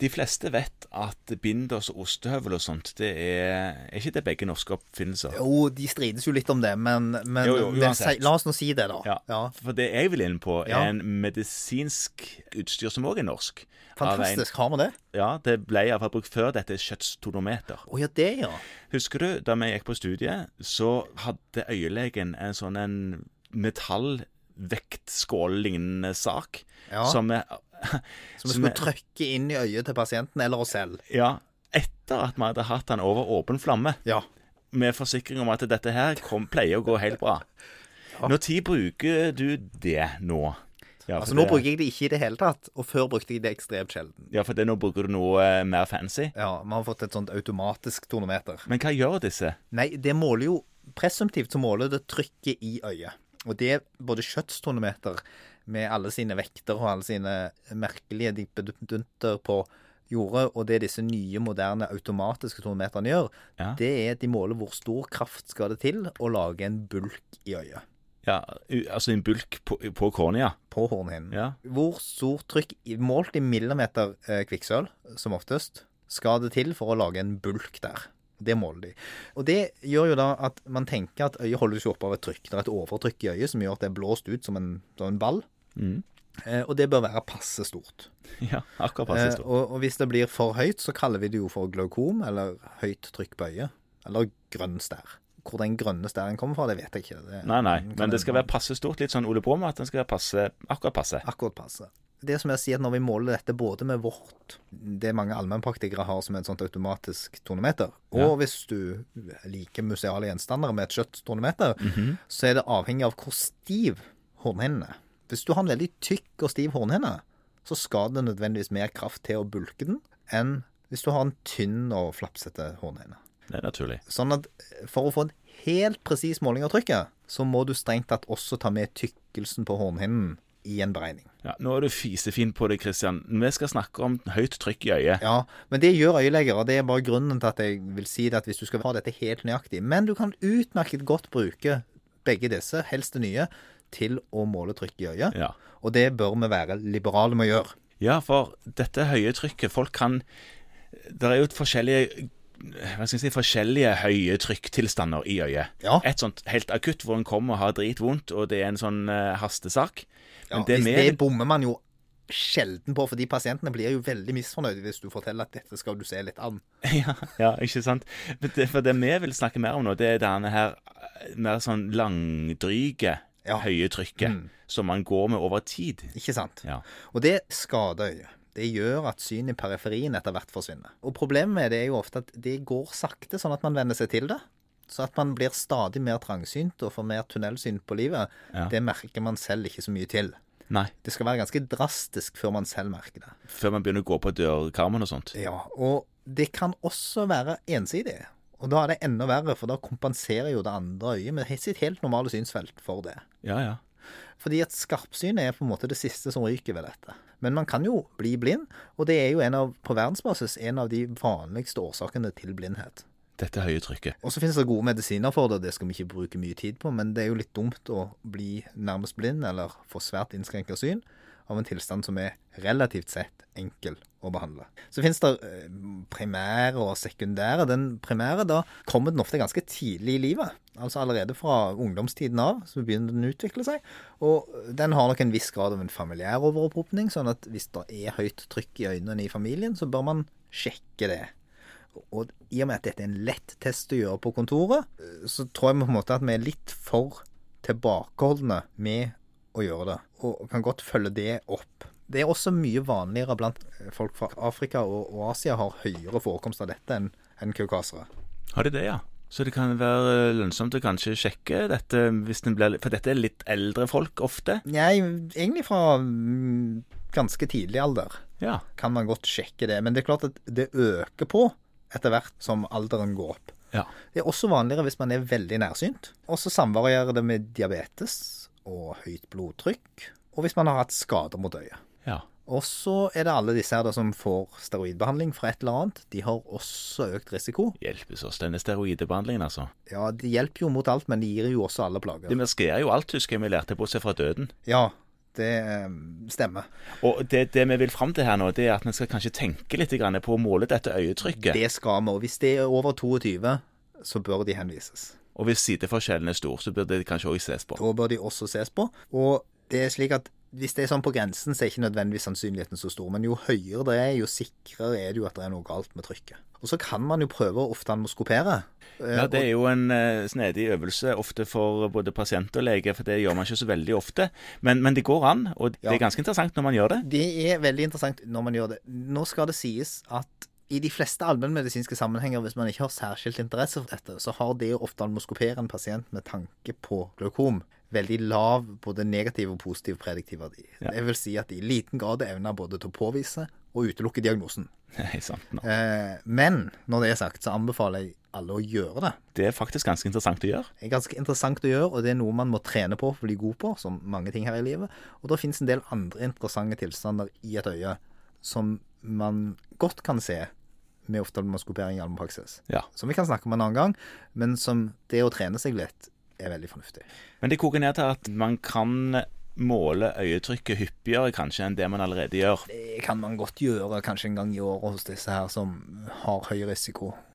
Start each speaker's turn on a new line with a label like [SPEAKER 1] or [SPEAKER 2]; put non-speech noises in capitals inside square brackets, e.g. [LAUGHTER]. [SPEAKER 1] De fleste vet at binders og ostehøvel og sånt, det er Er ikke det begge norske oppfinnelser?
[SPEAKER 2] Jo, de strides jo litt om det, men, men
[SPEAKER 1] Jo, jo,
[SPEAKER 2] men
[SPEAKER 1] uansett.
[SPEAKER 2] si- la oss nå si det, da.
[SPEAKER 1] Ja. For det jeg vil inn på, er
[SPEAKER 2] Ja.
[SPEAKER 1] en medisinsk utstyr som òg er norsk. Av en-
[SPEAKER 2] Fantastisk. Har vi det?
[SPEAKER 1] Ja, det ble iallfall brukt før dette kjøttstonometer.
[SPEAKER 2] Å ja, det, ja.
[SPEAKER 1] Husker du da vi gikk på studiet, så hadde øyelegen en sånn en metallvektskål-lignende sak
[SPEAKER 2] Ja.
[SPEAKER 1] som er
[SPEAKER 2] Så vi
[SPEAKER 1] som
[SPEAKER 2] skulle
[SPEAKER 1] er-
[SPEAKER 2] trykke inn i øyet til pasienten eller oss selv.
[SPEAKER 1] Ja, etter at vi hadde hatt den over åpen flamme,
[SPEAKER 2] Ja.
[SPEAKER 1] med forsikring om at dette her kom, pleier å gå helt bra. Når tid bruker du det nå? Ja, for
[SPEAKER 2] Altså, nå
[SPEAKER 1] det-
[SPEAKER 2] bruker jeg det ikke i det hele tatt, og før brukte jeg det ekstremt sjelden.
[SPEAKER 1] Ja, for det, nå bruker du noe eh, mer fancy.
[SPEAKER 2] Ja, vi har fått et sånt automatisk tonometer.
[SPEAKER 1] Men hva gjør disse?
[SPEAKER 2] Nei, det måler jo Presumptivt så måler det trykket i øyet. Og det er både kjøttstonometer med alle sine vekter og alle sine merkelige dippedunter på jordet, og det disse nye, moderne automatiske tonometerne gjør,
[SPEAKER 1] Ja.
[SPEAKER 2] det er at de måler hvor stor kraft skal det til å lage en bulk i øyet.
[SPEAKER 1] Ja, u- altså en bulk på, på kornea.
[SPEAKER 2] På hornhinnen.
[SPEAKER 1] Ja. [LAUGHS]
[SPEAKER 2] Hvor stort trykk, i- målt i millimeter eh, kvikksølv, som oftest, skal det til for å lage en bulk der. Det måler de. Og det gjør jo da at man tenker at øyet holdes jo oppe av et trykk. Det er et overtrykk i øyet som gjør at det er blåst ut som en, som en ball.
[SPEAKER 1] Mm.
[SPEAKER 2] Eh, og det bør være passe stort.
[SPEAKER 1] Ja, akkurat passe
[SPEAKER 2] Eh,
[SPEAKER 1] stor.
[SPEAKER 2] og, og hvis det blir for høyt, så kaller vi det jo for glaukom, eller høyt trykk på øyet. Eller grønn stær. Hvor den grønne stæren kommer fra, det vet jeg ikke. Det,
[SPEAKER 1] Nei, nei,
[SPEAKER 2] den kan
[SPEAKER 1] men det
[SPEAKER 2] jeg-
[SPEAKER 1] skal være passe stort. Litt sånn Ole Brumm at den skal være passe, akkurat passe.
[SPEAKER 2] Akkurat passe. Det som jeg sier at Når vi måler dette både med vårt Det mange allmennpraktikere har som et sånt automatisk tonometer, og
[SPEAKER 1] Ja.
[SPEAKER 2] hvis du liker museale gjenstander med et kjøtttonometer, så er det avhengig av hvor stiv hornhinnen er. Hvis du har en veldig tykk og stiv hornhinne, så skal det nødvendigvis mer kraft til å bulke den enn hvis du har en tynn og flapsete hornhinne.
[SPEAKER 1] Det er naturlig.
[SPEAKER 2] Sånn at for å få en helt presis måling av trykket, så må du strengt tatt også ta med tykkelsen på hornhinnen i en beregning.
[SPEAKER 1] Ja, nå er du fisefin på det, Christian. Vi skal snakke om høyt trykk i øyet.
[SPEAKER 2] Ja, men det gjør øyeleger, og det er bare grunnen til at jeg vil si det at hvis du skal ha dette helt nøyaktig Men du kan utmerket godt bruke begge disse, helst det nye, til å måle trykk i øyet.
[SPEAKER 1] Ja.
[SPEAKER 2] Og det bør vi være liberale med å gjøre.
[SPEAKER 1] ja, for dette høye trykket Folk kan Det er jo et forskjellige hva skal jeg si, forskjellige høye trykktilstander i øyet.
[SPEAKER 2] Ja.
[SPEAKER 1] Et sånt helt akutt hvor en kommer og har dritvondt, og det er en sånn eh, hastesak.
[SPEAKER 2] Ja,
[SPEAKER 1] Men det
[SPEAKER 2] hvis
[SPEAKER 1] vi-
[SPEAKER 2] det bommer man jo sjelden på, fordi pasientene blir jo veldig misfornøyde hvis du forteller at dette skal du se litt an.
[SPEAKER 1] Ja, ja, ikke sant? For det, for det vi vil snakke mer om nå, det er denne her eh, mer sånn langdryge
[SPEAKER 2] Ja. Mm.
[SPEAKER 1] høye trykket som man går med over tid.
[SPEAKER 2] Ikke sant?
[SPEAKER 1] Ja.
[SPEAKER 2] Og det skader øyet. Det gjør at synet i periferien etter hvert forsvinner. Og problemet med det er jo ofte at det går sakte, sånn at man venner seg til det. Så at man blir stadig mer trangsynt og får mer tunnelsyn på livet,
[SPEAKER 1] Ja.
[SPEAKER 2] det merker man selv ikke så mye til.
[SPEAKER 1] Nei,
[SPEAKER 2] Det skal være ganske drastisk før man selv merker det.
[SPEAKER 1] før man begynner å gå på dørkarmen og sånt.
[SPEAKER 2] Ja, og det kan også være ensidig. Og da er det enda verre, for da kompenserer jo det andre øyet med sitt helt normale synsfelt for det.
[SPEAKER 1] Ja, ja.
[SPEAKER 2] Fordi at skarpsynet er på en måte det siste som ryker ved dette. Men man kan jo bli blind, og det er jo en av, på verdensbasis en av de vanligste årsakene til blindhet.
[SPEAKER 1] Dette høye trykket.
[SPEAKER 2] Og så finnes det gode medisiner for det, det skal vi ikke bruke mye tid på, men det er jo litt dumt å bli nærmest blind eller få svært innskrenka syn av en tilstand som er relativt sett enkel å behandle. Så finnes det eh, primære og sekundære. Den primære, da kommer den ofte ganske tidlig i livet. Altså allerede fra ungdomstiden av så begynner den å utvikle seg. Og den har nok en viss grad av en familiær overopphopning, sånn at hvis det er høyt trykk i øynene i familien, så bør man sjekke det. Og i og med at dette er en lett test å gjøre på kontoret, så tror jeg på en måte at vi er litt for tilbakeholdne med å gjøre det. Og kan godt følge det opp. Det er også mye vanligere blant folk fra Afrika og og Asia har høyere forekomst av dette enn enn kaukasere.
[SPEAKER 1] Har de det, ja? Så det kan være eh, lønnsomt å kanskje sjekke dette, eh, hvis den blir, for dette er litt eldre folk ofte.
[SPEAKER 2] Nei, egentlig fra mm, ganske tidlig alder
[SPEAKER 1] Ja,
[SPEAKER 2] kan man godt sjekke det. Men det er klart at det øker på etter hvert som alderen går opp.
[SPEAKER 1] ja.
[SPEAKER 2] Det er også vanligere hvis man er veldig nærsynt. Og så samvarierer det med diabetes og høyt blodtrykk, og hvis man har hatt skader mot øyet.
[SPEAKER 1] ja.
[SPEAKER 2] Og så er det alle disse her da som får steroidbehandling fra et eller annet. De har også økt risiko.
[SPEAKER 1] Hjelpes oss, denne steroidebehandlingen, altså.
[SPEAKER 2] Ja, det hjelper jo mot alt, men det gir jo også alle
[SPEAKER 1] Det
[SPEAKER 2] plager.
[SPEAKER 1] maskerer jo alt, husker jeg vi lærte, bortsett fra døden.
[SPEAKER 2] Ja, Det eh, stemmer.
[SPEAKER 1] Og det, det vi vil fram til her nå, det er at vi skal kanskje tenke litt grann på å måle dette øyetrykket.
[SPEAKER 2] Det skal vi. Og hvis det er over 22, så bør de henvises.
[SPEAKER 1] Og hvis sideforskjellen er stor, så bør det kanskje òg ses på.
[SPEAKER 2] Da bør de også ses på. Og det er slik at hvis det er sånn på grensen, så er ikke nødvendigvis sannsynligheten så stor. Men jo høyere det er, jo sikrere er det jo at det er noe galt med trykket. Og så kan man jo prøve å oftanmoskopere. Eh,
[SPEAKER 1] Ja, Det er jo en eh, snedig øvelse, ofte for både pasient og lege, for det gjør man ikke så veldig ofte. Men, men det går an, og det
[SPEAKER 2] Ja.
[SPEAKER 1] er ganske interessant når man gjør det. [LAUGHS]
[SPEAKER 2] Det er veldig interessant når man gjør det. Nå skal det sies at i de fleste allmennmedisinske sammenhenger, hvis man ikke har særskilt interesse for dette, så har det å oftalmoskopere en pasient med tanke på glaukom veldig lav både negativ og positiv prediktiv verdi.
[SPEAKER 1] Ja.
[SPEAKER 2] Det vil si at de i liten grad evner både til å påvise og utelukke diagnosen.
[SPEAKER 1] Nei, sant nå.
[SPEAKER 2] Eh, men når det er sagt, så anbefaler jeg alle å gjøre det.
[SPEAKER 1] Det er faktisk ganske interessant å gjøre.
[SPEAKER 2] Det er ganske interessant å gjøre, og det er noe man må trene på for å bli god på, som mange ting her i livet. Og da finnes en del andre interessante tilstander i et øye som man godt kan se med oftalmoskopering i allmennpraksis.
[SPEAKER 1] Ja.
[SPEAKER 2] Som vi kan snakke om en annen gang, men som det å trene seg litt er veldig fornuftig.
[SPEAKER 1] Men det koker ned til at man kan måle øyetrykket hyppigere kanskje enn det man allerede gjør.
[SPEAKER 2] Det kan man godt gjøre kanskje en gang i året hos disse her som har høy risiko.